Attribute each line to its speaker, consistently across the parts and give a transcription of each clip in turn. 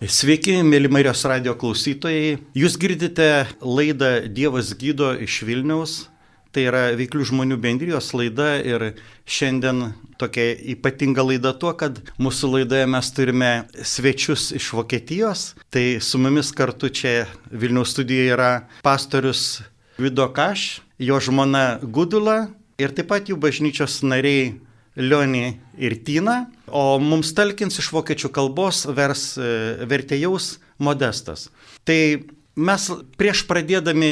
Speaker 1: Sveiki, mėly Marijos radio klausytojai. Jūs girdite laidą Dievas gydo iš Vilniaus. Tai yra Veiklių žmonių bendrijos laida ir šiandien tokia ypatinga laida tuo, kad mūsų laidoje mes turime svečius iš Vokietijos. Tai su mumis kartu čia Vilniaus studijoje yra pastorius Vido Kaš, jo žmona Gudula ir taip pat jų bažnyčios nariai Lionį ir Tyną, o mums talkins iš vokiečių kalbos vers e, vertėjaus modestas. Tai mes prieš pradėdami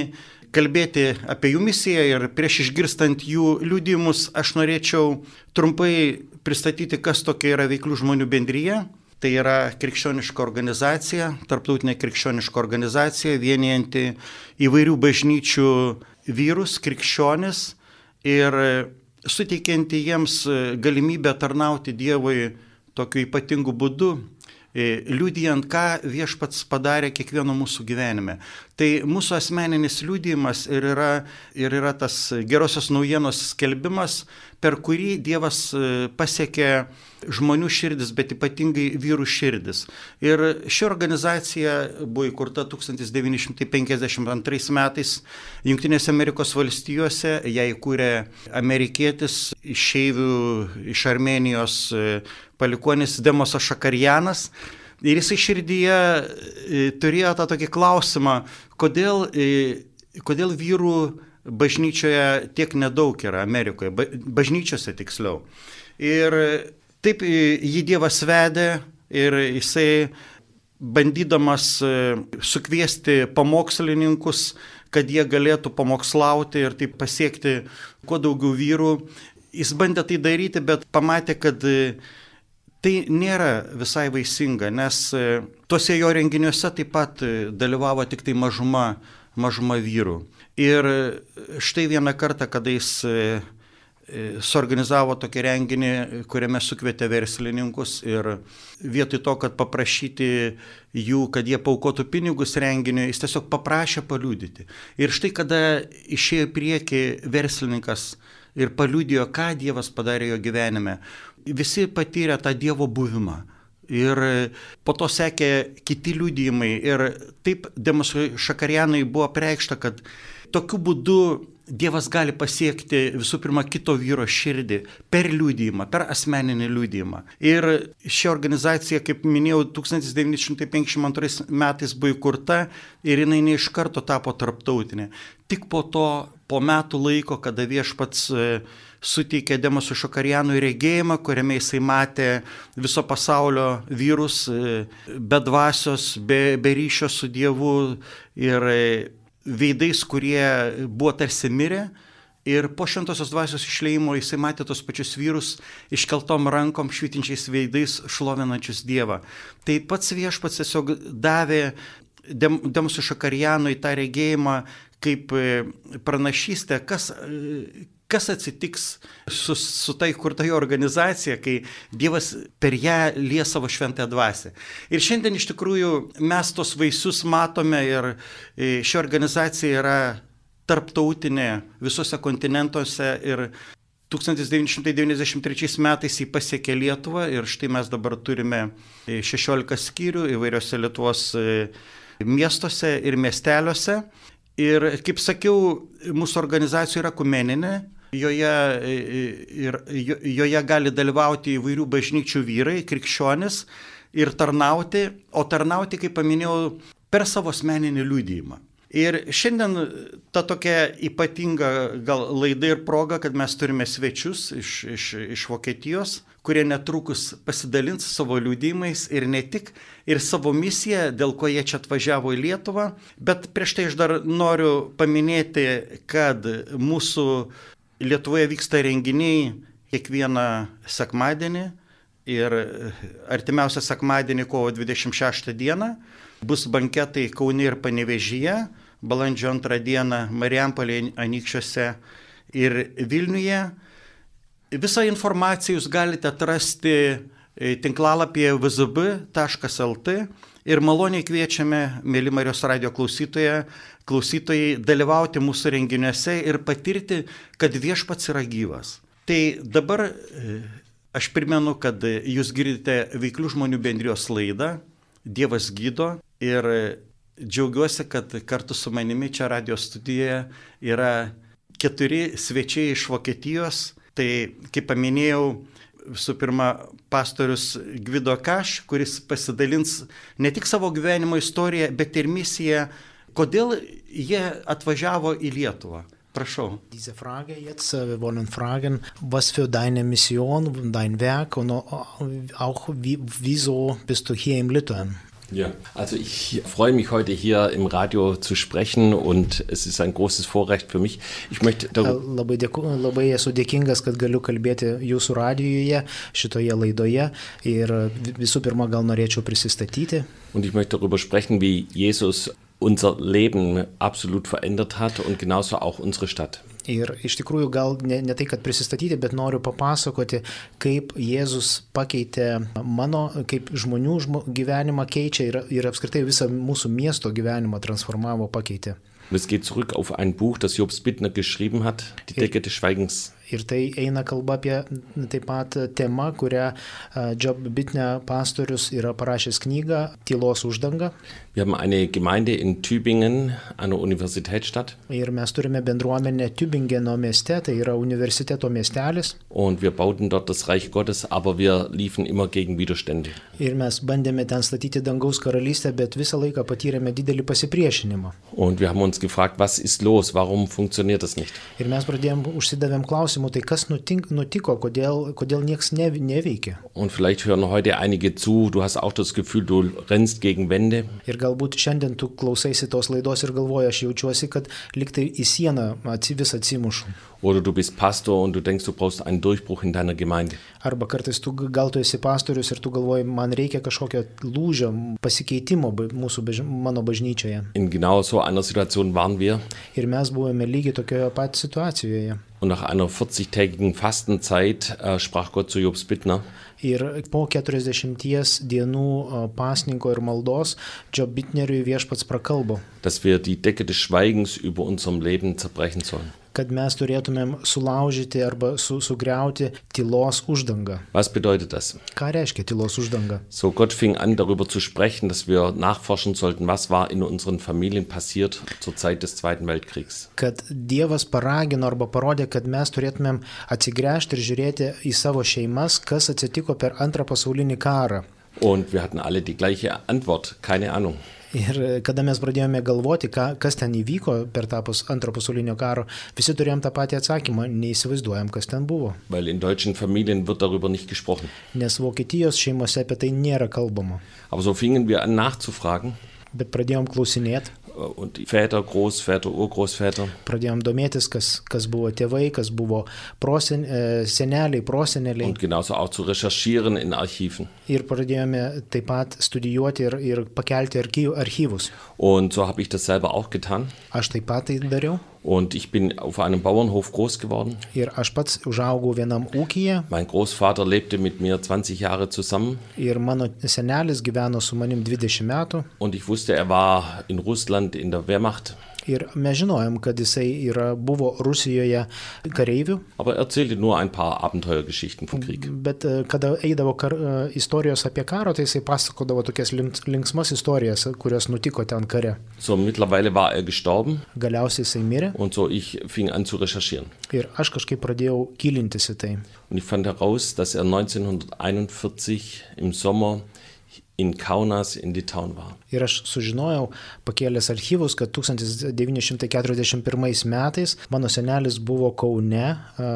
Speaker 1: kalbėti apie jų misiją ir prieš išgirstant jų liudimus, aš norėčiau trumpai pristatyti, kas tokia yra veiklių žmonių bendryje. Tai yra krikščioniška organizacija, tarptautinė krikščioniška organizacija, vienijanti įvairių bažnyčių vyrus, krikščionis ir suteikianti jiems galimybę tarnauti Dievui tokiu ypatingu būdu, liūdijant, E, ką viešpats padarė kiekvieno mūsų gyvenime. Tai mūsų asmeninis liūdimas ir yra, ir yra tas gerosios naujienos skelbimas, per kurį Dievas e, pasiekė žmonių širdis, bet ypatingai vyrų širdis. Ir ši organizacija buvo įkurta 1952 metais Junktinėse Amerikos valstijose, ją įkūrė amerikietis išeivių iš Armenijos palikonis Demosas Šakarjanas. Ir jisai širdyje turėjo tą tokį klausimą, kodėl, e, kodėl vyrų bažnyčioje tiek nedaug yra Amerikoje, bažnyčiose tiksliau. Ir taip e, jį Dievas vedė ir jisai bandydamas e, sukviesti pamokslininkus, kad jie galėtų pamokslauti ir taip pasiekti kuo daugiau vyrų, jis bandė tai daryti, bet pamatė, kad e, tai nėra visai vaisinga, nes e, tuose jo renginiuose taip pat dalyvavo tik tai mažuma, mažuma vyrų. Ir e, štai vieną kartą, kada jis e, suorganizavo tokį renginį, kuriame sukvietė verslininkus ir vietoj to, kad paprašyti jų, kad jie paukotų pinigus renginiui, jis tiesiog paprašė paliūdyti. Ir štai kada išėjo prieki verslininkas ir paliūdėjo, ką Dievas padarė jo gyvenime, visi patyrė tą Dievo buvimą. Ir e, po to sekė kiti liūdėjimai. Ir taip Demosui Šakarianui buvo preikšta, kad tokiu būdu Dievas gali pasiekti visų pirma kito vyro širdį per liūdėjimą, per asmeninį liūdėjimą. Ir ši organizacija, kaip minėjau, 1952 metais buvo įkurta ir jinai neiš karto tapo tarptautinė. Tik po to, po metų laiko, kada viešpats e, suteikė Demosų Šokarianui regėjimą, kuriame jisai matė viso pasaulio vyrus e, be dvasios, be, be ryšio su Dievu ir e, veidais, kurie buvo tarsi mirę. Ir po šventosios dvasios išleimo jisai matė tos pačius vyrus iškeltom rankom, švitinčiais veidais, šlovinančius Dievą. Tai pats viešpats tiesiog davė Dem Demsų Šakarijanui tą regėjimą kaip e, pranašystę, kas, e, kas atsitiks su, su tai kurta jo organizacija, kai Dievas per ją lie savo šventę dvasę. Ir šiandien iš tikrųjų mes tos vaisius matome ir e, ši organizacija yra tarptautinė visose kontinentuose ir 1993 metais jį pasiekė Lietuvą ir štai mes dabar turime 16 skyrių įvairiose Lietuvos e, miestuose ir miesteliuose. Ir kaip sakiau, mūsų organizacija yra kumeninė, Joje, e, ir, joje gali dalyvauti įvairių bažnyčių vyrai, krikščionis ir tarnauti, o tarnauti, kaip paminėjau, per savo asmeninį liūdėjimą. Ir šiandien ta tokia ypatinga gal laida ir proga, kad mes turime svečius iš, iš, iš Vokietijos, kurie netrukus pasidalins savo liūdėjimais ir ne tik, ir savo misiją, dėl ko jie čia atvažiavo į Lietuvą. Bet prieš tai aš dar noriu paminėti, kad mūsų Lietuvoje vyksta renginiai kiekvieną sekmadienį ir e, artimiausią sekmadienį, kovo 26 dieną, bus banketai Kaune ir Panevežyje, balandžio 2 dieną Marijampolėje, Anykščiuose ir Vilniuje. Visą informaciją jūs galite atrasti e, tinklalapyje vzb.lt ir maloniai kviečiame, mėly Marijos radio klausytoje, klausytojai, dalyvauti mūsų renginiuose ir patirti, kad viešpats yra gyvas. Tai dabar e, aš primenu, kad jūs girdite Veiklių žmonių bendrijos laidą Dievas gydo ir e, džiaugiuosi, kad kartu su manimi čia radio studijoje yra keturi svečiai iš Vokietijos. Tai, kaip paminėjau, visų pirma, pastorius Gvido Kaš, kuris pasidalins ne tik savo gyvenimo istoriją, bet ir misiją, kodėl jie atvažiavo į Lietuvą. Prašau.
Speaker 2: Diese Frage jetzt, Äh, wir wollen fragen, was für deine Mission, dein Werk und auch wie, wieso bist du hier in Litauen?
Speaker 3: Ja, also ich freue mich heute hier im Radio zu sprechen und es ist ein großes Vorrecht für mich. Ich möchte
Speaker 2: Äh, labai, dėku, labai esu dėkingas, kad galiu kalbėti jūsų radijuje, šitoje laidoje ir äh, visų pirma gal norėčiau prisistatyti.
Speaker 3: Und ich möchte darüber sprechen, wie Jesus unser Leben absolut verändert hat und genauso auch unsere Stadt.
Speaker 2: Ir iš tikrųjų gal ne, ne tai, kad prisistatyti, bet noriu papasakoti, kaip Jėzus pakeitė mano, kaip žmonių žmo, gyvenimą keičia ir, ir apskritai visą mūsų miesto gyvenimą transformavo, pakeitė.
Speaker 3: Und es geht zurück auf ein Buch, das Jobs Bittner geschrieben hat, Die Decke des Schweigens.
Speaker 2: Ir tai eina kalba apie taip pat temą, kurią Job Bittner pastorius yra parašęs knygą Tylos uždanga.
Speaker 3: Wir haben eine Gemeinde in Tübingen, einer Universitätsstadt.
Speaker 2: Ir mes turime bendruomenę Tübingeno mieste, tai yra universiteto miestelis.
Speaker 3: Und wir bauten dort das Reich Gottes, aber wir liefen immer gegen Widerstände.
Speaker 2: Ir mes bandėme ten statyti dangaus karalystę, bet visą laiką patyrėme didelį pasipriešinimą.
Speaker 3: Und wir haben uns gefragt, was ist los, warum funktioniert das nicht?
Speaker 2: Ir mes pradėjom užsidavėm klausimų, tai kas nutink, nutiko, kodėl, kodėl niekas ne, neveikia.
Speaker 3: Und vielleicht hören heute einige zu, du hast auch das Gefühl, du rennst gegen Wände.
Speaker 2: Ir galbūt šiandien tu klausaisi tos laidos ir galvoji, aš jaučiuosi, kad liktai į sieną atsi- vis atsimušu.
Speaker 3: Oder du bist Pastor und du denkst, du brauchst einen Durchbruch in deiner Gemeinde.
Speaker 2: Arba kartais tu g- gal tu esi pastorius ir tu galvoji, man reikia kažkokio lūžio, pasikeitimo ba- mūsų, baž- mano bažnyčioje.
Speaker 3: In genau so einer Situation waren wir.
Speaker 2: Ir mes buvome lygiai tokioje pat situacijoje.
Speaker 3: Und nach einer 40-tägigen Fastenzeit äh, sprach Gott zu Jobs Bittner.
Speaker 2: Ir po 40 dienų a, pasninko ir maldos Džio Bitneriui viešpats prakalbo,
Speaker 3: dass wir die Decke des Schweigens über unserem Leben zerbrechen sollen.
Speaker 2: kad mes turėtumėm sulaužyti arba su, sugriauti tylos uždangą.
Speaker 3: Was bedeutet das?
Speaker 2: Ką reiškia tylos uždanga?
Speaker 3: So, Gott fing an, darüber zu sprechen, dass wir nachforschen sollten, was war in unseren Familien passiert zur Zeit des Zweiten Weltkriegs.
Speaker 2: Kad Dievas paragino arba parodė, kad mes turėtumėm atsigręžti ir žiūrėti į savo šeimas, kas atsitiko per antrą pasaulinį karą.
Speaker 3: Und wir hatten alle die gleiche Antwort, keine Ahnung.
Speaker 2: Ir e, kada mes pradėjome galvoti, ką, kas ten įvyko per tą pas, antrą pasaulinio karo, visi turėjom tą patį atsakymą, neįsivaizduojam, kas ten buvo.
Speaker 3: Weil in deutschen Familien wird darüber nicht gesprochen.
Speaker 2: Nes Vokietijos šeimose apie tai nėra kalbama.
Speaker 3: Aber so fingen wir an nachzufragen.
Speaker 2: Bet pradėjom klausinėti,
Speaker 3: äh, Und die Väter, Großväter, Urgroßväter.
Speaker 2: pradėjom domėtis, kas, kas buvo tėvai, kas buvo prosen, e, seneliai, proseneliai.
Speaker 3: Und genauso auch zu recherchieren in Archiven.
Speaker 2: Ir pradėjome taip pat studijuoti ir, ir pakelti archy- archyvus.
Speaker 3: Und so habe ich das selber auch getan.
Speaker 2: Aš taip pat tai dariau.
Speaker 3: Und ich bin auf einem Bauernhof groß geworden.
Speaker 2: Ir aš pats užaugau vienam ūkyje
Speaker 3: Mein Großvater lebte mit mir 20 Jahre zusammen
Speaker 2: ir mano senelis gyveno su manim 20 metų.
Speaker 3: und ich wusste, er war in Russland in der Wehrmacht.
Speaker 2: Ir mes žinojom, kad jisai yra, buvo Rusijoje kareivių,
Speaker 3: Aber er erzählte nur ein paar Abenteuergeschichten vom Krieg.
Speaker 2: bet e, kada eidavo kar, e, istorijos apie karo, tai jisai pasakodavo tokias lim- linksmas istorijas, kurios nutiko ten kare.
Speaker 3: So, mittlerweile war er gestorben
Speaker 2: Galiausiai jisai mirė
Speaker 3: und so ich fing an zu recherchieren.
Speaker 2: ir aš kažkaip pradėjau kilintis į tai.
Speaker 3: Und ich fand heraus, dass er 1941 im Sommer in Kaunas in Litauen war.
Speaker 2: Ir aš sužinojau, pakėlęs archyvus, kad 1941 metais mano senelis buvo Kaune e,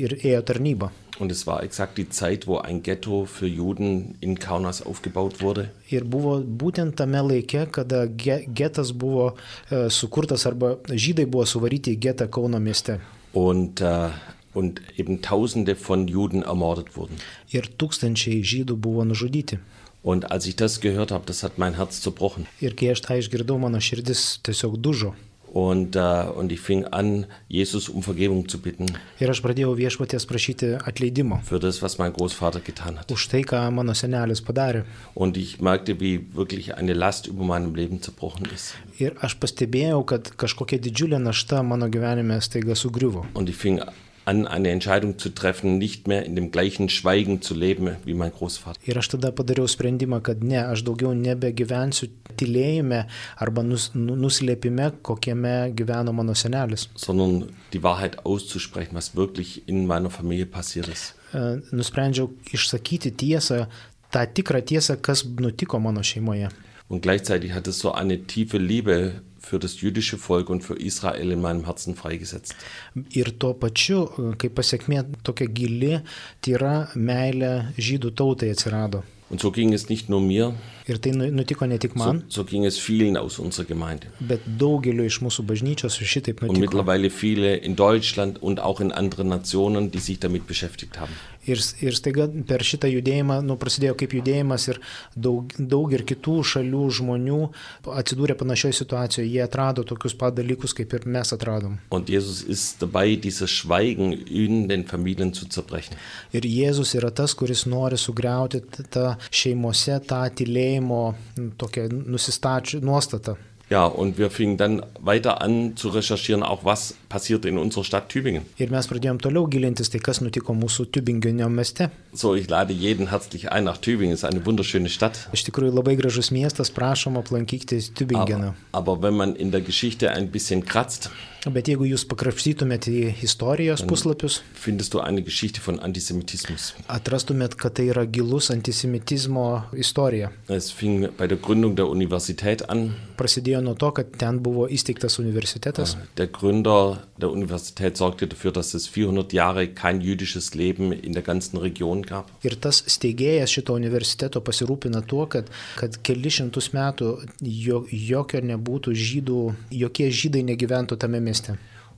Speaker 2: ir ėjo tarnybą.
Speaker 3: Und es war exakt die Zeit, wo ein Ghetto für Juden in Kaunas aufgebaut wurde.
Speaker 2: Ir buvo būtent tame laike, kada ge- getas buvo e, sukurtas arba žydai buvo suvaryti į getą Kauno mieste.
Speaker 3: Und, äh, und eben Tausende von Juden ermordet wurden.
Speaker 2: Ir tūkstančiai žydų buvo nužudyti.
Speaker 3: Und als ich das gehört habe, das hat mein Herz zerbrochen.
Speaker 2: Ir kai aš tą išgirdau, mano širdis tiesiog dužo.
Speaker 3: Und, äh, und ich fing an, Jesus um Vergebung zu bitten
Speaker 2: Ir aš pradėjau viešpaties prašyti atleidimo
Speaker 3: für das, was mein Großvater getan hat.
Speaker 2: už tai, ką mano senelis padarė.
Speaker 3: Und ich merkte, wie wirklich eine Last über meinem Leben zerbrochen ist.
Speaker 2: Ir aš pastebėjau, kad kažkokia didžiulė našta mano gyvenime staiga sugriuvo.
Speaker 3: Und ich fing an, eine Entscheidung zu treffen, nicht mehr in dem gleichen Schweigen zu leben wie mein Großvater.
Speaker 2: Ir aš tada padariau sprendimą, kad ne, aš daugiau nebegyvensiu tylėjime arba nus, nu- nuslėpime, kokiame gyveno mano senelis.
Speaker 3: sondern die Wahrheit auszusprechen, was wirklich in meiner Familie passiert ist.
Speaker 2: E, Nusprendžiau išsakyti tiesą, tą tikrą tiesą, kas nutiko mano šeimoje.
Speaker 3: Und gleichzeitig hat es so eine tiefe Liebe für das jüdische Volk und für Israel in meinem Herzen freigesetzt.
Speaker 2: Ir tuo pačiu, e, kaip pasiekmė, tokia gili, tyra meilė žydų tautai atsirado.
Speaker 3: Und so ging es nicht nur mir,
Speaker 2: Ir tai nu- nutiko ne tik
Speaker 3: so,
Speaker 2: man,
Speaker 3: so ging es vielen aus unserer Gemeinde.
Speaker 2: bet daugeliu iš mūsų bažnyčios šitaip
Speaker 3: Und
Speaker 2: nutiko.
Speaker 3: mittlerweile viele in Deutschland und auch in anderen Nationen, die sich damit beschäftigt haben.
Speaker 2: Ir, ir staiga per šitą judėjimą, nu, prasidėjo kaip judėjimas ir daug, daug ir kitų šalių žmonių atsidūrė panašioje situacijoje. Jie atrado tokius pat dalykus, kaip ir mes atradom.
Speaker 3: Und Jesus ist dabei, dieses Schweigen in den Familien zu zerbrechen.
Speaker 2: Ir Jėzus yra tas, kuris nori sugriauti t- tą šeimose tą tylėjimo n, tokią nusistačių nuostatą.
Speaker 3: Ja, und wir fingen dann weiter an zu recherchieren, auch was passiert in unserer Stadt Tübingen.
Speaker 2: Ir mes pradėjom toliau gilintis, tai kas nutiko mūsų Tübingenio mieste.
Speaker 3: So, ich lade jeden herzlich ein nach Tübingen. Ist eine wunderschöne Stadt.
Speaker 2: Iš tikrųjų labai gražus miestas, prašom aplankyti Tübingeną.
Speaker 3: Aber, aber wenn man in der Geschichte ein bisschen kratzt,
Speaker 2: Bet jeigu jūs pakrapštytumėte į istorijos puslapius,
Speaker 3: findest du eine Geschichte von Antisemitismus.
Speaker 2: atrastumėt, kad tai yra gilus antisemitizmo istorija.
Speaker 3: Es fing bei der Gründung der Universität an.
Speaker 2: Prasidėjo nuo to, kad ten buvo įsteigtas universitetas
Speaker 3: Der Gründer der Universität sorgte dafür, dass es 400 Jahre kein jüdisches Leben in der ganzen Region gab.
Speaker 2: ir tas steigėjas šito universiteto pasirūpina tuo, kad, kad keli šimtus metų jo, jokio nebūtų žydų, jokie žydai negyventų tame mieste.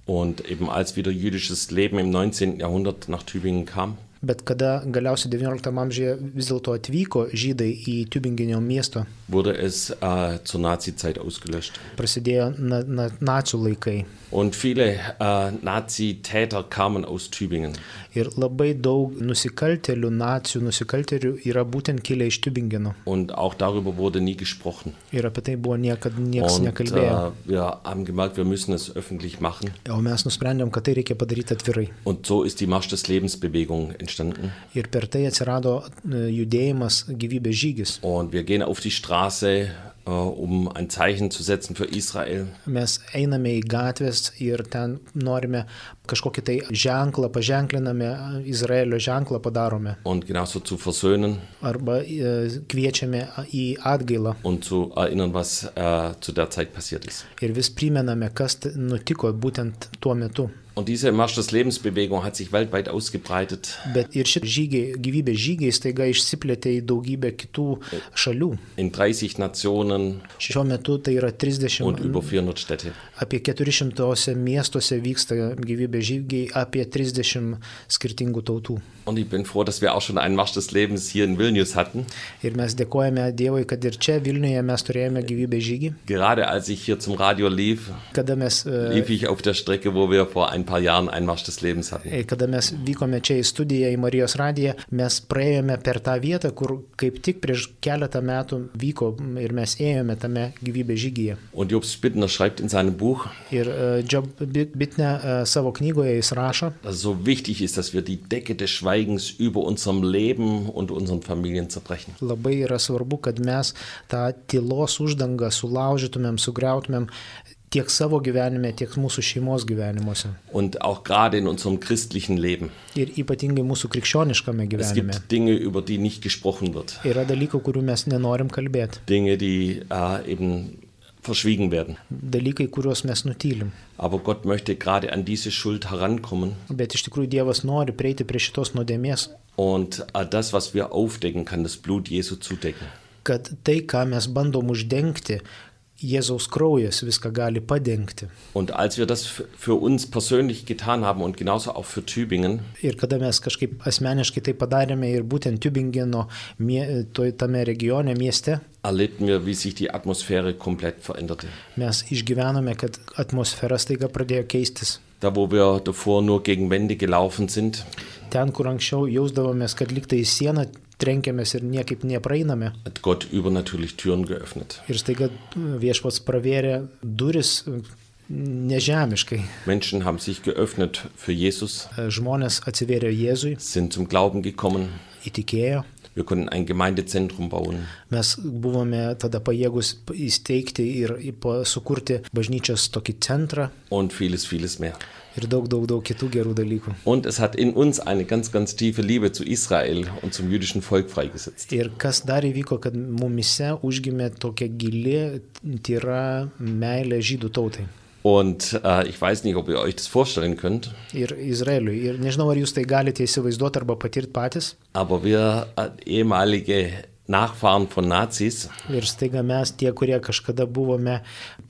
Speaker 3: Und eben als wieder jüdisches Leben im 19. Jahrhundert nach Tübingen kam,
Speaker 2: Bet kada galiausiai XIX amžiuje vis dėlto atvyko žydai į Tübingenio miesto,
Speaker 3: wurde es äh, zur Nazizeit ausgelöscht.
Speaker 2: prasidėjo na, na, nacių laikai.
Speaker 3: Und viele äh, Nazitäter kamen aus Tübingen.
Speaker 2: Ir labai daug nusikaltelių, nacijų nusikaltelių yra būtent kilę iš Tübingeno.
Speaker 3: Und auch darüber wurde nie gesprochen.
Speaker 2: Ir apie tai buvo niekada niekas
Speaker 3: Und
Speaker 2: nekalbėjo.
Speaker 3: äh, wir haben gemerkt, wir müssen es öffentlich machen.
Speaker 2: O mes nusprendėm, kad tai reikia padaryti atvirai.
Speaker 3: Und so ist die Marsch des Lebensbewegung entstanden.
Speaker 2: Ir per tai atsirado e, judėjimas gyvybės žygis.
Speaker 3: Und wir gehen auf die Straße, äh, um ein Zeichen zu setzen für Israel.
Speaker 2: Mes einame į gatves ir ten norime kažkokį tai ženklą, paženkliname, e, Izraelio ženklą padarome.
Speaker 3: Und genauso zu versöhnen
Speaker 2: Arba e, kviečiame į atgailą
Speaker 3: und zu erinnern, was äh, zu der Zeit passiert ist.
Speaker 2: ir vis primename, kas t- nutiko būtent tuo metu.
Speaker 3: Und diese Marsch des Lebensbewegung hat sich weltweit ausgebreitet.
Speaker 2: Bet ir šit žygiai, gyvybės žygiai staiga išsiplėtė į daugybę kitų šalių.
Speaker 3: In 30 Nationen
Speaker 2: Šiuo metu tai yra
Speaker 3: und
Speaker 2: 30,
Speaker 3: über 400 Städte.
Speaker 2: apie 400 miestuose vyksta gyvybės žygiai, apie 30 skirtingų tautų.
Speaker 3: Und ich bin froh, dass wir auch schon einen Marsch des Lebens hier in Vilnius hatten.
Speaker 2: Ir mes dėkojame Dievui, kad ir čia Vilniuje mes turėjome gyvybės žygį,
Speaker 3: Gerade als ich hier zum Radio lief,
Speaker 2: kada mes, e,
Speaker 3: lief ich auf der Strecke, wo wir vor ein paar Jahren einen Marsch des Lebens hatten.
Speaker 2: kada mes vykome čia į studiją, į Marijos radiją, mes praėjome per tą vietą, kur kaip tik prieš keletą metų vyko ir mes ėjome tame gyvybės žygyje.
Speaker 3: Und Job Spittner schreibt in seinem Buch,
Speaker 2: Ir e, Job Bit- Bitne e, savo knygoje jis rašo,
Speaker 3: dass es so wichtig ist, dass wir die Decke des Schweigens über unserem Leben und unseren Familien zerbrechen.
Speaker 2: Labai yra svarbu, kad mes tą tylos uždangą sulaužytumėm, sugriautumėm tiek savo gyvenime, tiek mūsų šeimos gyvenimuose.
Speaker 3: Und auch gerade in unserem christlichen Leben.
Speaker 2: Ir ypatingai mūsų krikščioniškame
Speaker 3: Es
Speaker 2: gyvenime.
Speaker 3: gibt Dinge, über die nicht gesprochen wird.
Speaker 2: Yra dalykų, kurių mes nenorim kalbėti.
Speaker 3: Dinge, die äh, eben verschwiegen werden.
Speaker 2: Dalykai, kuriuos mes nutylim.
Speaker 3: Aber Gott möchte gerade an diese Schuld herankommen.
Speaker 2: Bet iš tikrųjų Dievas nori prieiti prie šitos nuodėmės,
Speaker 3: Und äh, das, was wir aufdecken, kann das Blut Jesu zudecken.
Speaker 2: kad tai, ką mes bandom uždengti, Jėzaus kraujas viską gali padengti.
Speaker 3: Und als wir das f- für uns persönlich getan haben und genauso auch für Tübingen,
Speaker 2: Ir kada mes kažkaip asmeniškai tai padarėme ir būtent Tübingeno mie, toj, tame regione, mieste,
Speaker 3: erlebten wir, wie sich die Atmosphäre komplett veränderte.
Speaker 2: mes išgyvenome, kad atmosfera staiga pradėjo keistis.
Speaker 3: Da, wo wir davor nur gegen Wände gelaufen sind,
Speaker 2: Ten, kur anksčiau jausdavomės, kad liktai į sieną trenkėmės ir niekaip nepraeiname.
Speaker 3: hat Gott übernatürlich Türen geöffnet.
Speaker 2: Ir staiga viešpats pravėrė duris mm, nežemiškai.
Speaker 3: Menschen haben sich geöffnet für Jesus,
Speaker 2: Žmonės atsivėrė Jėzui,
Speaker 3: sind zum Glauben gekommen.
Speaker 2: įtikėjo.
Speaker 3: Wir konnten ein Gemeindezentrum bauen.
Speaker 2: Mes buvome tada pajėgus įsteigti ir į- pa- sukurti bažnyčios tokį centrą
Speaker 3: und vieles, vieles mehr.
Speaker 2: ir daug, daug, daug kitų gerų dalykų.
Speaker 3: Und es hat in uns eine ganz, ganz tiefe Liebe zu Israel und zum jüdischen Volk freigesetzt.
Speaker 2: Ir kas dar įvyko, kad mumise užgimė tokia gili, tyra meilė žydų tautai
Speaker 3: Und äh, ich weiß nicht, ob ihr euch das vorstellen könnt,
Speaker 2: ir Izraeliui. Ir nežinau, ar jūs tai galite įsivaizduoti arba patirti patys.
Speaker 3: aber wir äh, ehemalige Nachfahren von Nazis
Speaker 2: Ir staiga mes, tie, kurie kažkada buvome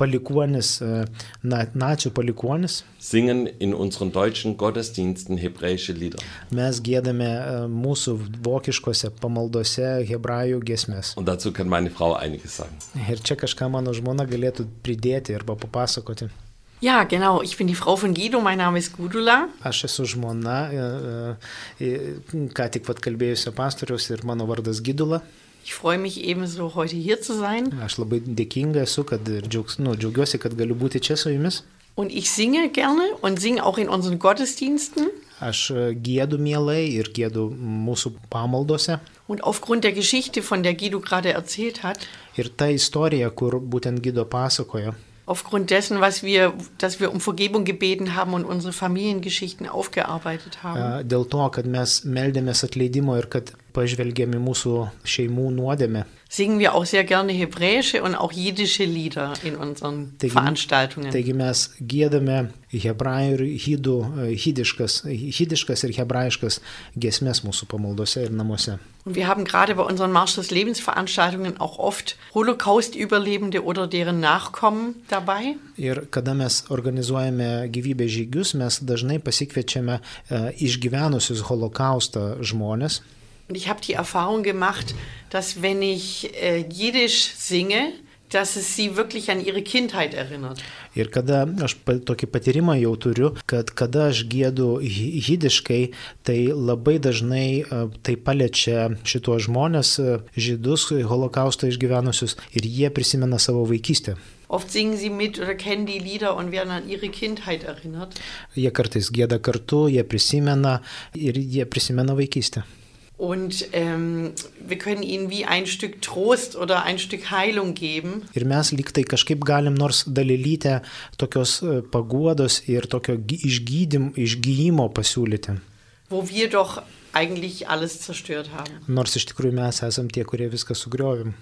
Speaker 2: palikuonis, e, na, nacijų palikuonis,
Speaker 3: singen in unseren deutschen Gottesdiensten hebräische Lieder.
Speaker 2: mes gėdame e, mūsų vokiškose pamaldose hebrajų gesmes.
Speaker 3: Und dazu kann meine Frau einiges sagen.
Speaker 2: Ir čia kažką mano žmona galėtų pridėti arba papasakoti.
Speaker 4: Ja, genau. Ich bin die Frau von Guido. Mein Name ist Gudula.
Speaker 2: Aš esu žmona, e, e, e, ką tik pat kalbėjusio pastoriaus ir mano vardas Gidula.
Speaker 4: Ich freue mich ebenso, heute hier zu sein.
Speaker 2: Aš labai dėkinga esu, kad ir džiaugs, nu, džiaugiuosi, kad galiu būti čia su jumis.
Speaker 4: Und ich singe gerne und singe auch in unseren Gottesdiensten.
Speaker 2: Aš e, gėdu mielai ir gėdu mūsų pamaldose.
Speaker 4: Und aufgrund der Geschichte, von der Guido gerade erzählt hat,
Speaker 2: Ir ta istorija, kur būtent Gido pasakojo, e,
Speaker 4: aufgrund dessen, was wir, dass wir um Vergebung gebeten haben und unsere Familiengeschichten aufgearbeitet haben,
Speaker 2: a, dėl to, kad mes meldėmės atleidimo ir kad pažvelgėme į mūsų šeimų nuodėme.
Speaker 4: singen wir auch sehr gerne hebräische und auch jiddische Lieder in unseren Veranstaltungen.
Speaker 2: taigi mes gėdame hebrajų ir hydų, e, hydiškas, hydiškas ir hebrajiškas gesmes mūsų pamaldose ir namuose.
Speaker 4: Und wir haben gerade bei unseren Marsch des Lebens Veranstaltungen auch oft Holocaust-Überlebende oder deren Nachkommen dabei.
Speaker 2: Ir kada mes organizuojame gyvybės žygius, mes dažnai pasikviečiame e, išgyvenusius holokaustą žmonės.
Speaker 4: Und ich habe die Erfahrung gemacht, dass wenn ich äh, Jiddisch singe, dass es sie wirklich an ihre Kindheit erinnert.
Speaker 2: Ir kada aš pa- tokį patyrimą jau turiu, kad kada aš gėdu hydiškai, tai labai dažnai e, tai paliečia šituos žmonės, e, žydus, holokaustą išgyvenusius ir jie prisimena savo vaikystę.
Speaker 4: Oft singen sie mit oder kennen die Lieder und werden an ihre Kindheit erinnert.
Speaker 2: Jie kartais gėda kartu, jie prisimena ir jie prisimena vaikystę.
Speaker 4: Und ähm, wir können ihnen wie ein Stück Trost oder ein Stück Heilung geben.
Speaker 2: Ir mes lyg tai kažkaip galim nors dalelytę tokios e, paguodos ir tokio gy- išgydym, išgyjimo pasiūlyti.
Speaker 4: wo wir doch eigentlich alles zerstört haben.
Speaker 2: Nors iš tikrųjų mes esam tie, kurie viską sugriovim.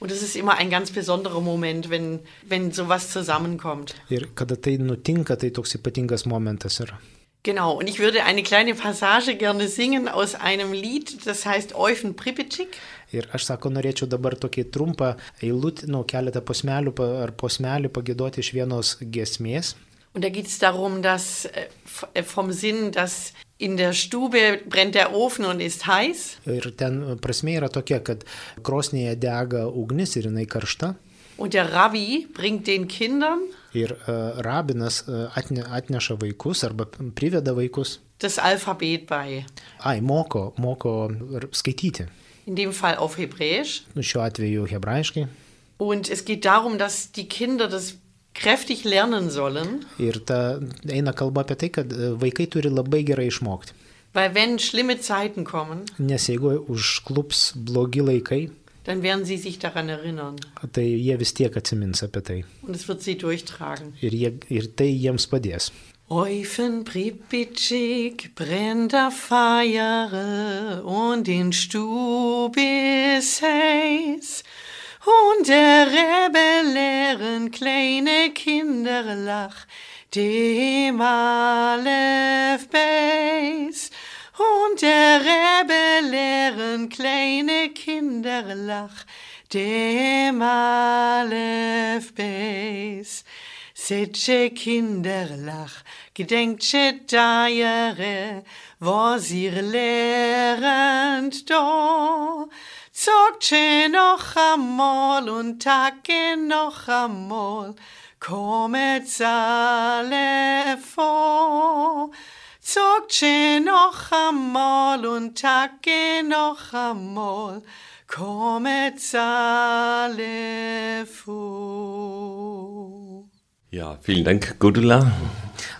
Speaker 4: Und es ist immer ein ganz besonderer Moment, wenn, wenn sowas zusammenkommt.
Speaker 2: Ir kada tai nutinka, tai toks ypatingas momentas yra.
Speaker 4: Genau, und ich würde eine kleine Passage gerne singen aus einem Lied, das heißt Eufen Pripetik.
Speaker 2: Ir aš sako, norėčiau dabar tokį trumpą eilutę, nu, keletą posmelių pa- ar posmelį pagėdoti iš vienos gesmės.
Speaker 4: Und da geht es darum, dass äh, f- äh, vom Sinn, dass in der Stube brennt der Ofen und ist heiß.
Speaker 2: Ir ten prasme yra tokia, kad krosnėje dega ugnis ir jinai karšta.
Speaker 4: Und der Rabbi bringt den Kindern
Speaker 2: Ir uh, rabinas uh, atne, atneša vaikus arba priveda vaikus.
Speaker 4: das Alphabet bei.
Speaker 2: Ai, moko, moko r- skaityti.
Speaker 4: In dem Fall auf Hebräisch.
Speaker 2: Nu, šiuo atveju hebrajiškai.
Speaker 4: Und es geht darum, dass die Kinder das kräftig lernen sollen.
Speaker 2: Ir ta eina kalba apie tai, kad e, vaikai turi labai gerai išmokti.
Speaker 4: Weil wenn schlimme Zeiten kommen,
Speaker 2: Nes jeigu užklups blogi laikai,
Speaker 4: dann werden sie sich daran erinnern
Speaker 2: tai jie vis tiek atsimins apie tai.
Speaker 4: und es wird sie durchtragen.
Speaker 2: Ir, jie, ir tai jiems padės.
Speaker 4: Eufen Pripitschik brennt der Feiere und in Stub ist heiß. Und der Rebbe lehren kleine Kinder lach dem Aleph Beis. Und der Rebbe lehren kleine Kinder lach dem Aleph Beis. Setsche Kinderlach, gedenksche Deiere, was ihr lehrend do. Zogtsche noch amol und tacke noch amol, kommet alle vor. Zogtsche noch amol und tacke noch amol, kommet alle vor.
Speaker 3: Ja, vielen Dank, Gudula.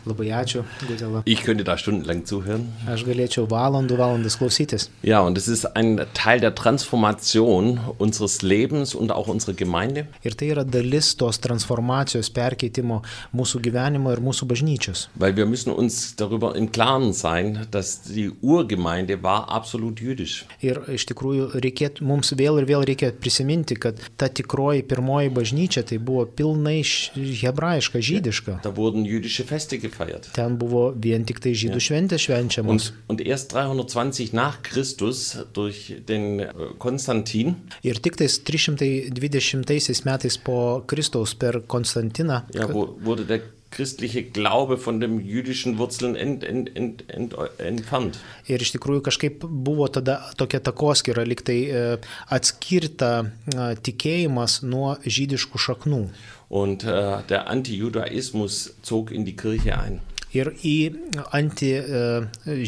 Speaker 2: Labai ačiū, Gudela.
Speaker 3: Ich könnte da stundenlang zuhören.
Speaker 2: Aš galėčiau valandų valandas klausytis.
Speaker 3: Ja, und es ist ein Teil der Transformation unseres Lebens und auch unserer Gemeinde.
Speaker 2: Ir tai yra dalis tos transformacijos, perkeitimo mūsų gyvenimo ir mūsų bažnyčios.
Speaker 3: Weil wir müssen uns darüber im Klaren sein, dass die Urgemeinde war absolut jüdisch.
Speaker 2: Ir iš tikrųjų reikėt, mums vėl ir vėl reikia prisiminti, kad ta tikroji pirmoji bažnyčia tai buvo pilnai š- hebrajiška, žydiška.
Speaker 3: Da wurden jüdische Feste gefeiert.
Speaker 2: Ten buvo vien tik tai žydų šventė švenčiamos.
Speaker 3: Und, und erst 320 nach Christus durch den äh, Konstantin
Speaker 2: Ir tik tais 320 metais po Kristaus per Konstantiną
Speaker 3: ja, wo, wurde der christliche Glaube von den jüdischen Wurzeln ent, ent, ent, ent, entfernt.
Speaker 2: Ir iš tikrųjų kažkaip buvo tada tokia takoskyra, liktai e, atskirta e, tikėjimas nuo žydiškų šaknų.
Speaker 3: Und äh, der Antijudaismus zog in die Kirche ein.
Speaker 2: Ir į anti, e,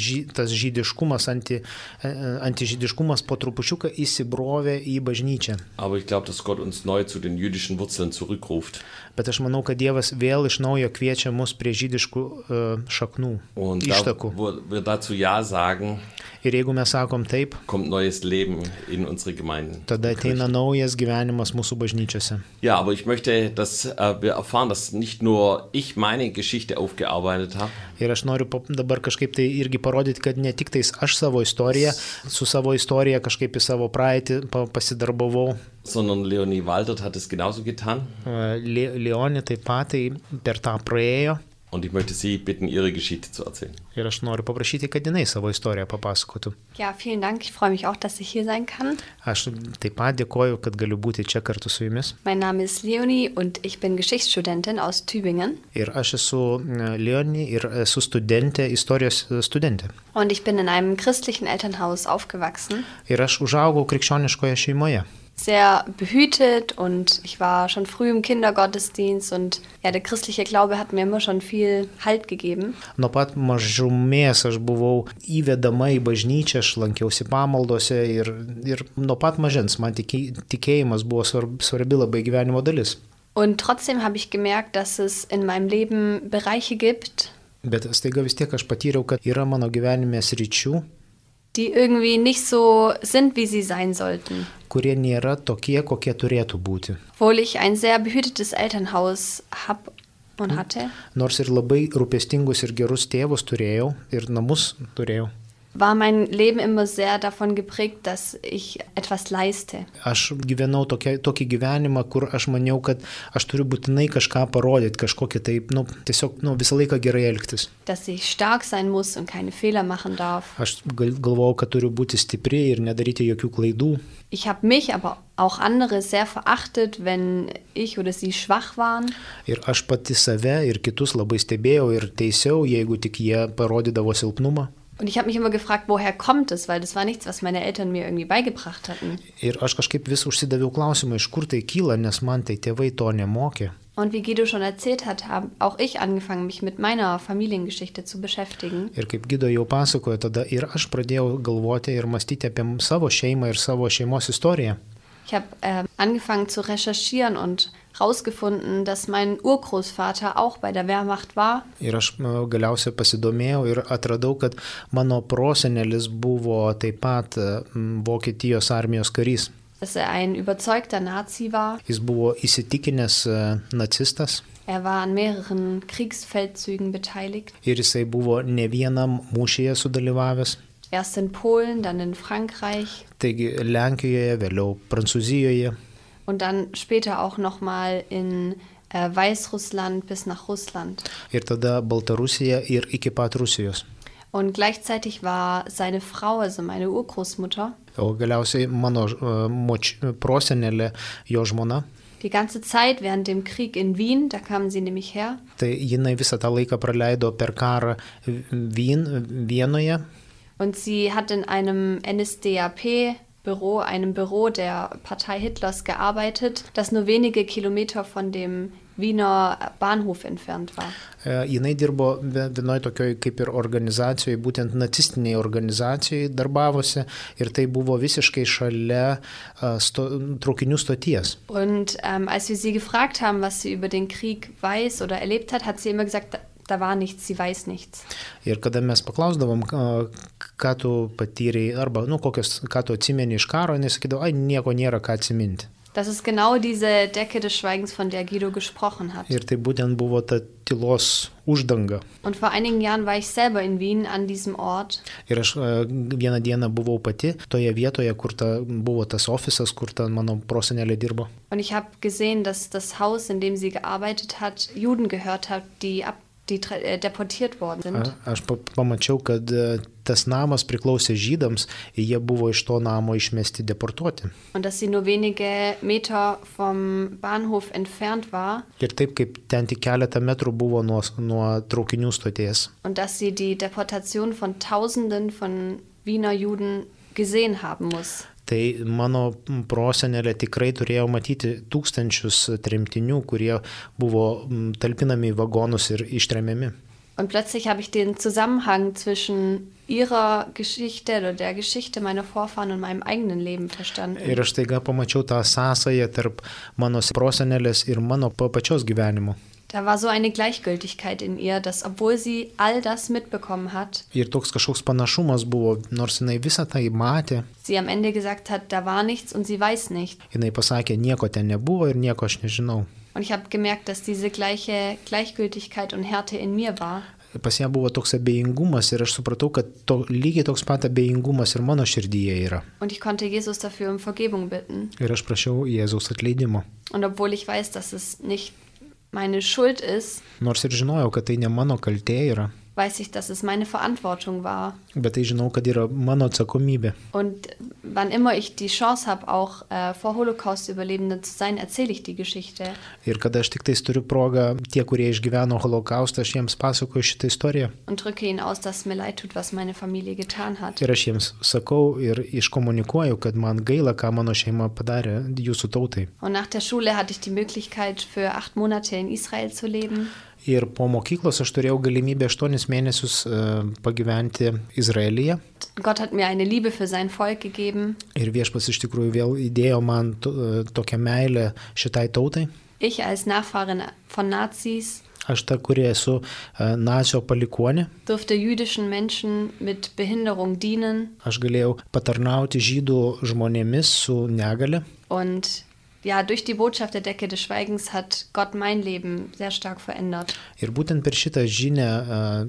Speaker 2: žy, tas žydiškumas, anti, e, antižydiškumas po trupučiuką įsibrovė į bažnyčią.
Speaker 3: Aber ich glaube, dass Gott uns neu zu den jüdischen Wurzeln zurückruft.
Speaker 2: Bet aš manau, kad Dievas vėl iš naujo kviečia mus prie žydiškų e, šaknų,
Speaker 3: Und da,
Speaker 2: ištakų.
Speaker 3: wo wir dazu Ja sagen,
Speaker 2: Ir jeigu mes sakom taip,
Speaker 3: kommt neues Leben in unsere Gemeinden.
Speaker 2: tada ateina naujas gyvenimas mūsų bažnyčiose.
Speaker 3: Ja, aber ich möchte, dass äh, wir erfahren, dass nicht nur ich meine Geschichte aufgearbeitet habe,
Speaker 2: Ir aš noriu pap- dabar kažkaip tai irgi parodyti, kad ne tik tais aš savo istoriją, su savo istorija kažkaip į savo praeitį pa- pasidarbavau.
Speaker 3: sondern Leonie Waltert hat es genauso getan.
Speaker 2: E, Le Leonė taip pat tai per tą praėjo.
Speaker 3: Und ich möchte Sie bitten, Ihre Geschichte zu erzählen.
Speaker 2: Ir aš noriu paprašyti, kad jinai savo istoriją papasakotų.
Speaker 5: Ja, vielen Dank. Ich freue mich auch, dass ich hier sein kann.
Speaker 2: Aš taip pat dėkoju, kad galiu būti čia kartu su jumis.
Speaker 5: Mein Name ist Leonie und ich bin Geschichtsstudentin aus Tübingen.
Speaker 2: Ir aš esu e, Leonė ir esu studentė, istorijos e, studentė.
Speaker 5: Und ich bin in einem christlichen Elternhaus aufgewachsen.
Speaker 2: Ir aš užaugau krikščioniškoje šeimoje.
Speaker 5: Sehr behütet und ich war schon früh im Kindergottesdienst und ja, der christliche Glaube hat mir immer schon viel Halt gegeben.
Speaker 2: Nuo pat mažumės aš buvau įvedama į bažnyčią, aš lankiausi pamaldose ir, ir nuo pat mažens man tiki, tikėjimas buvo svarb, svarbi labai gyvenimo dalis.
Speaker 5: Und trotzdem habe ich gemerkt, dass es in meinem Leben Bereiche gibt,
Speaker 2: Bet staiga vis tiek aš patyriau, kad yra mano gyvenime sričių,
Speaker 5: die irgendwie nicht so sind, wie sie sein sollten.
Speaker 2: kurie nėra tokie, kokie turėtų būti.
Speaker 5: Obwohl ich ein sehr behütetes Elternhaus habe und hatte.
Speaker 2: Nors ir labai rūpestingus ir gerus tėvus turėjau ir namus turėjau.
Speaker 5: war mein Leben immer sehr davon geprägt, dass ich etwas leiste.
Speaker 2: Aš gyvenau tokia, tokį gyvenimą, kur aš maniau, kad aš turiu būtinai kažką parodyti, kažkokį taip, nu, tiesiog nu, visą laiką gerai elgtis.
Speaker 5: Dass ich stark sein muss und keine Fehler machen darf.
Speaker 2: Aš gal- galvojau, kad turiu būti stipri ir nedaryti jokių klaidų.
Speaker 5: Ich habe mich, aber auch andere sehr verachtet, wenn ich oder sie schwach waren.
Speaker 2: Ir aš pati save ir kitus labai stebėjau ir teisiau, jeigu tik jie parodydavo silpnumą.
Speaker 5: Und ich habe mich immer gefragt, woher kommt es, weil das war nichts, was meine Eltern mir irgendwie beigebracht hatten.
Speaker 2: Ir aš kažkaip vis užsidaviau klausimą, iš kur tai kyla, nes man tai tėvai to nemokė.
Speaker 5: Und wie Guido schon erzählt hat, habe auch ich angefangen, mich mit meiner Familiengeschichte zu beschäftigen.
Speaker 2: Ir kaip Gido jau pasakojo, tada ir aš pradėjau galvoti ir mąstyti apie m- savo šeimą ir savo šeimos istoriją.
Speaker 5: Ich habe ähm, angefangen zu recherchieren und herausgefunden, dass mein Urgroßvater auch bei der Wehrmacht war
Speaker 2: Ir aš e, galiausiai pasidomėjau ir atradau, kad mano prosenelis buvo taip pat e, m, Vokietijos armijos karys.
Speaker 5: dass er ein überzeugter Nazi war.
Speaker 2: Jis buvo įsitikinęs e, nacistas
Speaker 5: Er war an mehreren Kriegsfeldzügen beteiligt.
Speaker 2: ir jisai buvo ne vienam mūšyje sudalyvavęs.
Speaker 5: Erst in Polen, dann in Frankreich
Speaker 2: Taigi Lenkijoje, vėliau Prancūzijoje
Speaker 5: und dann später auch nochmal in äh, Weißrussland bis nach Russland.
Speaker 2: ir tada Baltarusija ir iki pat Rusijos.
Speaker 5: Und gleichzeitig war seine Frau, also meine Urgroßmutter,
Speaker 2: O galiausiai mano e, moč, prosenelė, jo žmona,
Speaker 5: die ganze Zeit während dem Krieg in Wien, da kamen sie nämlich her,
Speaker 2: tai jinai visą tą laiką praleido per karą Vien, Vienoje
Speaker 5: und sie hat in einem NSDAP Büro, einem Büro der Partei Hitlers gearbeitet, das nur wenige Kilometer von dem Wiener Bahnhof entfernt war.
Speaker 2: E, Jinai dirbo ve- vienoj tokioj kaip ir organizacijoje, būtent nacistiniai organizacijai darbavosi ir tai buvo visiškai šalia e, sto, traukinių stoties.
Speaker 5: Und ähm, als wir sie gefragt haben, was sie über den Krieg weiß oder erlebt hat, hat sie immer gesagt, da, da war nichts, sie weiß nichts.
Speaker 2: Ir kada mes paklausdavom, a, ką tu patyrei, arba, nu, kokios, ką tu atsimeni iš karo, jis sakydavo, ai, nieko nėra ką atsiminti.
Speaker 5: Das ist genau diese Decke des Schweigens, von der Guido gesprochen hat.
Speaker 2: Ir tai būtent buvo ta tylos uždanga.
Speaker 5: Und vor einigen Jahren war ich selber in Wien an diesem Ort.
Speaker 2: Ir aš e, vieną dieną buvau pati toje vietoje, kur ta, buvo tas ofisas, kur ta mano prosenelė dirbo.
Speaker 5: Und ich habe gesehen, dass das Haus, in dem sie gearbeitet hat, Juden gehört hat, die, ab, die tra- äh, deportiert worden sind.
Speaker 2: A, aš pa- pamačiau, kad e, tas namas priklausė žydams ir jie buvo iš to namo išmesti deportuoti.
Speaker 5: Und dass sie nur wenige Meter vom Bahnhof entfernt war.
Speaker 2: Ir taip kaip ten tik keletą metrų buvo nuo, nuo traukinių stoties.
Speaker 5: Und dass sie die Deportation von Tausenden von Wiener Juden gesehen haben muss.
Speaker 2: Tai mano prosenelė tikrai turėjo matyti tūkstančius tremtinių, kurie buvo mm, talpinami į vagonus ir ištremiami.
Speaker 5: Und plötzlich habe ich den Zusammenhang zwischen ihrer Geschichte oder der Geschichte meiner Vorfahren und meinem eigenen Leben verstanden.
Speaker 2: Ir aš taiga pamačiau tą sąsąją tarp mano prosenelės ir mano pa- pačios gyvenimo.
Speaker 5: Da war so eine Gleichgültigkeit in ihr, dass obwohl sie all das mitbekommen hat,
Speaker 2: Ir toks kažkoks panašumas buvo, nors jinai visą tai matė,
Speaker 5: sie am Ende gesagt hat, da war nichts und sie weiß nicht.
Speaker 2: jinai pasakė, nieko ten nebuvo ir nieko aš nežinau.
Speaker 5: Und ich habe gemerkt, dass diese gleiche Gleichgültigkeit und Härte in mir war.
Speaker 2: Pas ją buvo toks abejingumas ir aš supratau, kad to, lygiai toks pat abejingumas ir mano širdyje yra.
Speaker 5: Und ich konnte Jesus dafür um Vergebung bitten.
Speaker 2: Ir aš prašiau Jėzaus atleidimo.
Speaker 5: Und obwohl ich weiß, dass es nicht meine Schuld ist,
Speaker 2: Nors ir žinojau, kad tai ne mano kaltė yra,
Speaker 5: weiß ich, dass es meine Verantwortung war.
Speaker 2: bet tai žinau, kad yra mano atsakomybė.
Speaker 5: Und wann immer ich die Chance habe, auch äh, vor Holocaust-Überlebenden zu sein, erzähle ich die Geschichte.
Speaker 2: Ir kada aš tik tais turiu progą, tie, kurie išgyveno holokaustą, aš jiems pasakoju šitą istoriją.
Speaker 5: und drücke ihnen aus, dass es mir leid tut, was meine Familie getan hat.
Speaker 2: Ir aš jiems sakau ir iškomunikuoju, kad man gaila, ką mano šeima padarė jūsų tautai.
Speaker 5: Und nach der Schule hatte ich die Möglichkeit, für acht Monate in Israel zu leben.
Speaker 2: Ir po mokyklos aš turėjau galimybę 8 mėnesius e, pagyventi Izraelyje.
Speaker 5: Gott hat mir eine Liebe für sein Volk gegeben.
Speaker 2: Ir viešpas iš tikrųjų vėl įdėjo man to, e, tokią meilę šitai tautai.
Speaker 5: Ich als Nachfahrin von Nazis
Speaker 2: Aš ta, kuri esu e, nacio palikonė.
Speaker 5: durfte jüdischen Menschen mit Behinderung dienen.
Speaker 2: Aš galėjau patarnauti žydų žmonėmis su negale.
Speaker 5: Und ja, durch die Botschaft der Decke des Schweigens hat Gott mein Leben sehr stark verändert.
Speaker 2: Ir būtent per šitą žinę,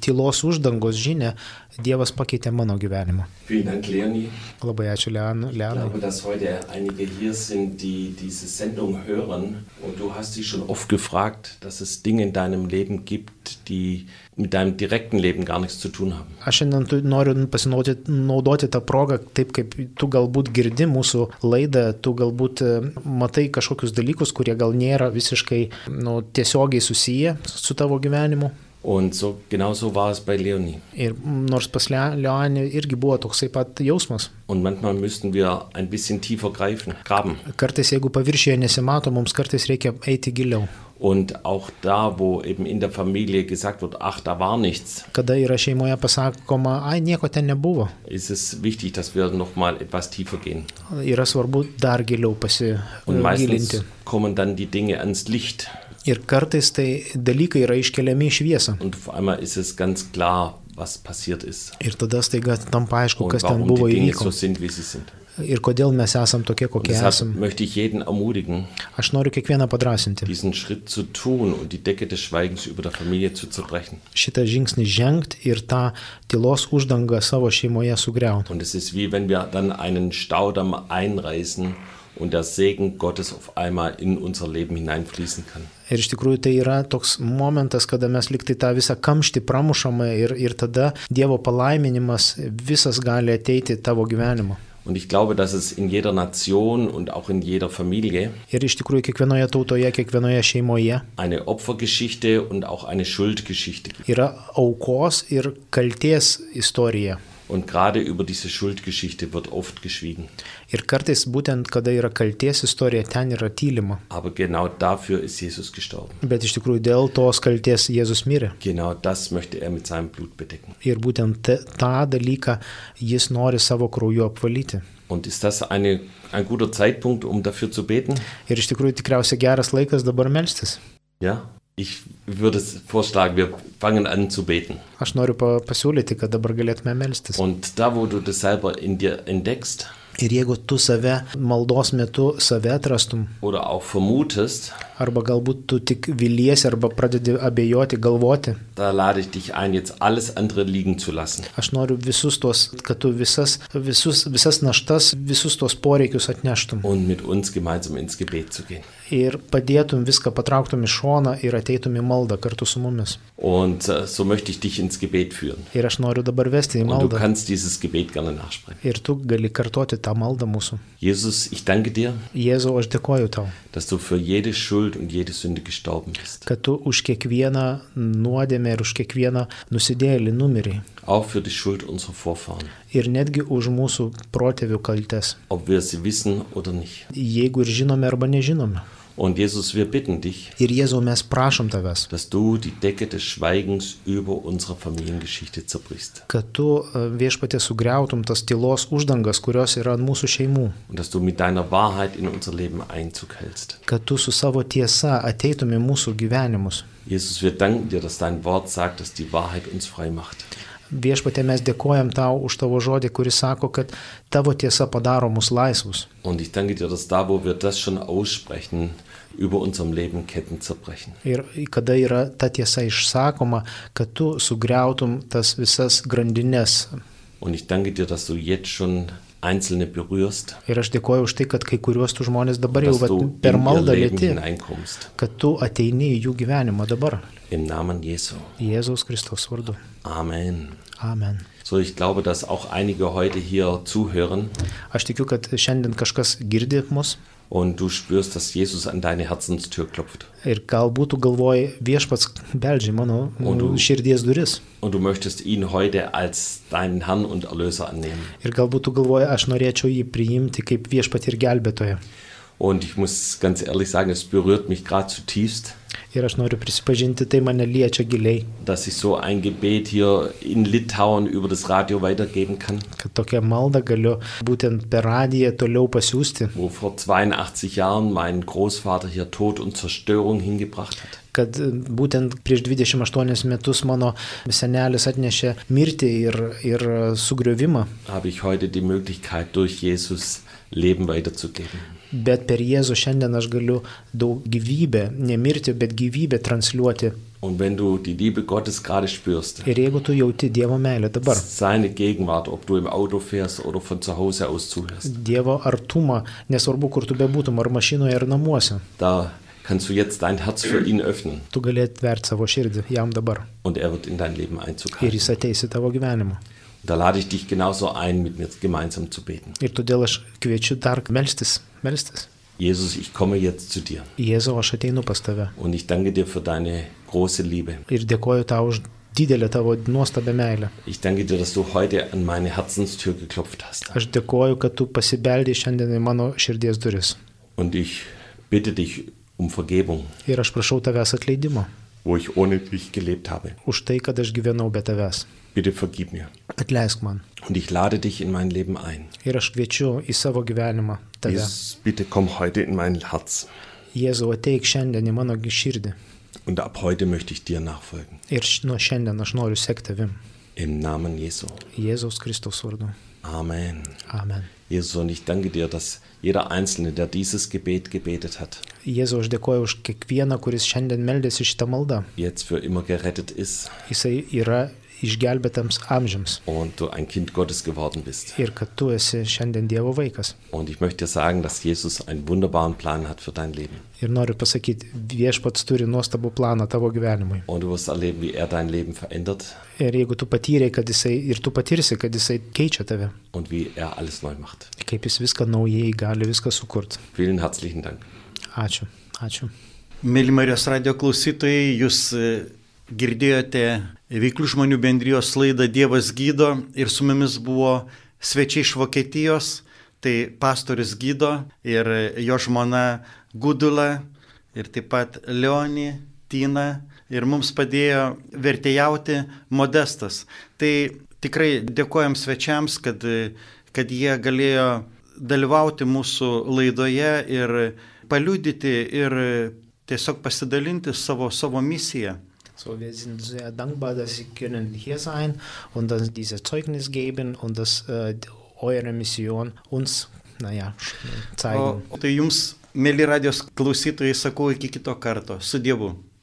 Speaker 2: tylos uždangos žinę, Dievas pakeitė mano gyvenimą.
Speaker 3: Vielen Dank, Leonie.
Speaker 2: Labai ačiū Leon-
Speaker 3: Ich
Speaker 2: Leonui.
Speaker 3: glaube, dass heute einige hier sind, die diese Sendung hören. Und du hast dich schon oft gefragt, dass es Dinge in deinem Leben gibt, die mit deinem direkten Leben gar nichts zu tun haben.
Speaker 2: Aš šiandien tu- noriu pasinaudoti tą progą, taip kaip tu galbūt girdi mūsų laidą, tu galbūt e, matai kažkokius dalykus, kurie gal nėra visiškai nu, tiesiogiai susiję su tavo gyvenimu.
Speaker 3: Und so, genau so war es bei Leonie.
Speaker 2: Ir mm, nors pas Le- Leonį irgi buvo toksai pat jausmas.
Speaker 3: Und manchmal müssten wir ein bisschen tiefer greifen, graben.
Speaker 2: Kartais, jeigu paviršyje nesimato, mums kartais reikia eiti giliau.
Speaker 3: Und auch da, wo eben in der Familie gesagt wird, ach, da war nichts,
Speaker 2: Kada yra šeimoje pasakoma, ai, nieko ten nebuvo.
Speaker 3: ist es wichtig, dass wir nochmal etwas tiefer gehen.
Speaker 2: Yra svarbu dar giliau Äh,
Speaker 3: Und meistens
Speaker 2: pasigilinti.
Speaker 3: kommen dann die Dinge ans Licht.
Speaker 2: Ir kartais tai dalykai yra iškeliami į šviesą.
Speaker 3: Und auf einmal ist es ganz klar, was passiert ist.
Speaker 2: Ir tada staiga tampa aišku,
Speaker 3: Und
Speaker 2: kas ten
Speaker 3: warum
Speaker 2: buvo
Speaker 3: die Dinge so
Speaker 2: įvyko
Speaker 3: sind, wie sie sind.
Speaker 2: ir kodėl mes esam tokie, kokie
Speaker 3: Deshalb
Speaker 2: esam.
Speaker 3: möchte ich jeden ermutigen,
Speaker 2: Aš noriu kiekvieną padrasinti.
Speaker 3: diesen Schritt zu tun und die Decke des Schweigens über der Familie zu zerbrechen.
Speaker 2: Šitą žingsnį žengti ir tą tylos uždangą savo šeimoje sugriauti.
Speaker 3: Und es ist wie wenn wir dann einen Staudamm einreißen und der Segen Gottes auf einmal in unser Leben hineinfließen kann.
Speaker 2: Ir iš tikrųjų tai yra toks momentas, kada mes liktai tą visą kamštį pramušamą ir, ir tada Dievo palaiminimas visas gali ateiti į tavo gyvenimą.
Speaker 3: Und ich glaube, dass es in jeder Nation und auch in jeder Familie
Speaker 2: Ir iš tikrųjų kiekvienoje tautoje, kiekvienoje šeimoje
Speaker 3: eine Opfergeschichte und auch eine Schuldgeschichte gibt.
Speaker 2: yra aukos ir kalties istorija.
Speaker 3: Und gerade über diese Schuldgeschichte wird oft geschwiegen.
Speaker 2: Ir kartais būtent, kada yra kalties istorija, ten yra tylima.
Speaker 3: Aber genau dafür ist Jesus gestorben.
Speaker 2: Bet iš tikrųjų dėl tos kalties Jėzus mirė.
Speaker 3: Genau das möchte er mit seinem Blut bedecken.
Speaker 2: Ir būtent te- tą dalyką jis nori savo krauju apvalyti.
Speaker 3: Und ist das eine, ein guter Zeitpunkt, um dafür zu beten?
Speaker 2: Ir iš tikrųjų tikriausiai geras laikas dabar melstis.
Speaker 3: Ja, ich würde es vorschlagen, wir fangen an zu beten.
Speaker 2: Aš noriu pa pasiūlyti, kad dabar galėtume melstis.
Speaker 3: Und da, wo du das selber in dir entdeckst
Speaker 2: Ir jeigu tu save maldos metu save atrastum,
Speaker 3: oder auch vermutest,
Speaker 2: arba galbūt tu tik viliesi, arba pradedi abejoti, galvoti,
Speaker 3: da lade ich dich ein, jetzt alles andere liegen zu lassen.
Speaker 2: aš noriu visus tos, kad tu visas, visus, visas naštas, visus tos poreikius atneštum
Speaker 3: und mit uns gemeinsam ins Gebet zu gehen.
Speaker 2: ir padėtum viską, patrauktum į šoną ir ateitum į maldą kartu su mumis.
Speaker 3: Und äh, so möchte ich dich ins Gebet führen.
Speaker 2: Ir aš noriu dabar vesti į
Speaker 3: Und du
Speaker 2: maldą.
Speaker 3: kannst dieses Gebet gerne nachsprechen.
Speaker 2: Ir tu gali kartoti tą maldą mūsų.
Speaker 3: Jesus, ich danke dir,
Speaker 2: Jėzau, aš dėkoju tau,
Speaker 3: dass du für jede Schuld und jede Sünde gestorben bist.
Speaker 2: kad tu už kiekvieną nuodėmę ir už kiekvieną nusidėlį numirį.
Speaker 3: Auch für die Schuld unserer Vorfahren,
Speaker 2: Ir netgi už mūsų protėvių kaltes,
Speaker 3: ob wir sie wissen oder nicht.
Speaker 2: jeigu ir žinome arba nežinome.
Speaker 3: Und Jesus, wir bitten dich,
Speaker 2: Ir Jėzau, mes prašom tavęs,
Speaker 3: dass du die Decke des Schweigens über unsere Familiengeschichte zerbrichst.
Speaker 2: kad tu e, viešpatė sugriautum tas tylos uždangas, kurios yra ant mūsų šeimų,
Speaker 3: Und dass du mit deiner Wahrheit in unser Leben Einzug hältst.
Speaker 2: kad tu su savo tiesa ateitum į mūsų gyvenimus.
Speaker 3: Jesus, wir danken dir, dass dein Wort sagt, dass die Wahrheit uns frei macht.
Speaker 2: Viešpatė, mes dėkojam tau už tavo žodį, kuris sako, kad tavo tiesa padaro mus laisvus.
Speaker 3: Und ich danke dir, dass da, wo wir das schon aussprechen, über unserem Leben Ketten zerbrechen.
Speaker 2: Ir kada yra ta tiesa išsakoma, kad tu sugriautum tas visas grandinės.
Speaker 3: Und ich danke dir, dass du jetzt schon Einzelne berührst,
Speaker 2: Ir aš dėkoju už tai, kad kai kuriuos tu žmonės dabar jau
Speaker 3: dass
Speaker 2: vat,
Speaker 3: du
Speaker 2: per
Speaker 3: in ihr
Speaker 2: maldą
Speaker 3: Leben
Speaker 2: lėti,
Speaker 3: hineinkommst.
Speaker 2: kad tu ateini į jų gyvenimą dabar.
Speaker 3: Im Namen Jesu.
Speaker 2: Jėzaus Kristaus vardu.
Speaker 3: Amen.
Speaker 2: Amen.
Speaker 3: So, ich glaube, dass auch einige heute hier zuhören
Speaker 2: Aš tikiu, kad šiandien kažkas girdi mus
Speaker 3: und du spürst, dass Jesus an deine Herzenstür klopft.
Speaker 2: ir galbūt tu galvoji viešpats beldžiai mano
Speaker 3: du-
Speaker 2: širdies duris.
Speaker 3: Und du möchtest ihn heute als deinen Herrn und Erlöser annehmen.
Speaker 2: Ir galbūt tu galvoji, aš norėčiau jį priimti kaip viešpatį ir gelbėtoją.
Speaker 3: Und ich muss ganz ehrlich sagen, es berührt mich gerade zutiefst.
Speaker 2: Ir aš noriu prisipažinti, tai mane liečia giliai,
Speaker 3: dass ich so ein Gebet hier in Litauen über das Radio weitergeben kann,
Speaker 2: kad tokią maldą galiu būtent per radiją toliau pasiūsti,
Speaker 3: wo vor 82 Jahren mein Großvater hier Tod und Zerstörung hingebracht hat.
Speaker 2: kad e, būtent prieš 28 metus mano senelis atnešė mirtį ir, ir e, sugriovimą,
Speaker 3: Habe ich heute die Möglichkeit, durch Jesus Leben weiterzugeben.
Speaker 2: bet per Jėzų šiandien aš galiu daug gyvybę, ne mirtį, bet gyvybę transliuoti.
Speaker 3: Und wenn du die Liebe Gottes gerade spürst,
Speaker 2: Ir jeigu tu jauti Dievo meilę dabar,
Speaker 3: seine Gegenwart, ob du im Auto fährst oder von zu Hause aus zuhörst,
Speaker 2: Dievo artumą, nesvarbu kur tu bebūtum, ar mašinoje, ar namuose,
Speaker 3: da kannst du jetzt dein Herz für ihn öffnen
Speaker 2: tu gali atverti savo širdį jam dabar
Speaker 3: und er wird in dein Leben Einzug
Speaker 2: ir
Speaker 3: halten.
Speaker 2: jis ateis į tavo gyvenimą.
Speaker 3: Da lade ich dich genauso ein, mit mir gemeinsam zu beten.
Speaker 2: Ir todėl aš kviečiu dar melstis, melstis.
Speaker 3: Jesus, ich komme jetzt zu dir.
Speaker 2: Jėzau, aš ateinu pas tave
Speaker 3: Und ich danke dir für deine große Liebe.
Speaker 2: ir dėkoju tau už didelę tavo nuostabią meilę.
Speaker 3: Ich danke dir, dass du heute an meine Herzenstür geklopft hast.
Speaker 2: Aš dėkoju, kad tu pasibeldė šiandien į mano širdies duris.
Speaker 3: Und ich bitte dich um Vergebung,
Speaker 2: Ir aš prašau tavęs atleidimo
Speaker 3: wo ich ohne dich gelebt habe.
Speaker 2: už tai, kad aš gyvenau be tavęs.
Speaker 3: Bitte vergib mir.
Speaker 2: Atleisk man.
Speaker 3: Und ich lade dich in mein Leben ein.
Speaker 2: Ir aš kviečiu į savo gyvenimą tave. Jis...
Speaker 3: Jesus, bitte komm heute in mein Herz.
Speaker 2: Jėzau, ateik šiandien į mano širdį.
Speaker 3: Und ab heute möchte ich dir nachfolgen.
Speaker 2: Ir š- nuo šiandien aš noriu sekti tavim.
Speaker 3: Im Namen Jesu.
Speaker 2: Jėzaus Kristaus vardu.
Speaker 3: Amen.
Speaker 2: Amen.
Speaker 3: Jesus, und ich danke dir, dass jeder Einzelne, der dieses Gebet gebetet hat,
Speaker 2: Jėzau, aš dėkoju už kiekvieną, kuris šiandien meldėsi šitą maldą.
Speaker 3: jetzt für immer gerettet ist
Speaker 2: Jisai yra išgelbėtams amžiams.
Speaker 3: und du ein Kind Gottes geworden bist.
Speaker 2: Ir kad tu esi šiandien Dievo vaikas.
Speaker 3: Und ich möchte dir sagen, dass Jesus einen wunderbaren Plan hat für dein Leben.
Speaker 2: Ir noriu pasakyti, viešpats turi nuostabų planą tavo gyvenimui.
Speaker 3: Und du wirst erleben, wie er dein Leben verändert
Speaker 2: Ir jeigu tu patyrei, kad jisai, ir tu patirsi, kad jisai keičia tave,
Speaker 3: und wie er alles neu macht.
Speaker 2: kaip jis viską naujai gali, viską sukurti.
Speaker 3: Vielen herzlichen Dank.
Speaker 2: Ačiū, ačiū.
Speaker 1: Mėly Marijos radio klausytojai, jūs e, Girdėjote Veiklių žmonių bendrijos laidą Dievas gydo ir su mumis buvo svečiai iš Vokietijos, tai pastoris gydo ir e, jo žmona Gudula ir taip pat Leoni, Tina ir mums padėjo vertėjauti Modestas. Tai tikrai dėkojam svečiams, kad, e, kad jie galėjo dalyvauti mūsų laidoje ir paliudyti ir tiesiog pasidalinti savo, savo misiją.
Speaker 2: So, wir sind sehr dankbar, dass Sie können hier sein und dass dieses Zeugnis geben und dass äh, eure Mission uns, naja, zeigen.
Speaker 1: O, tai jums, mėly radijos klausytojai, sakau iki kito karto. Su Dievu.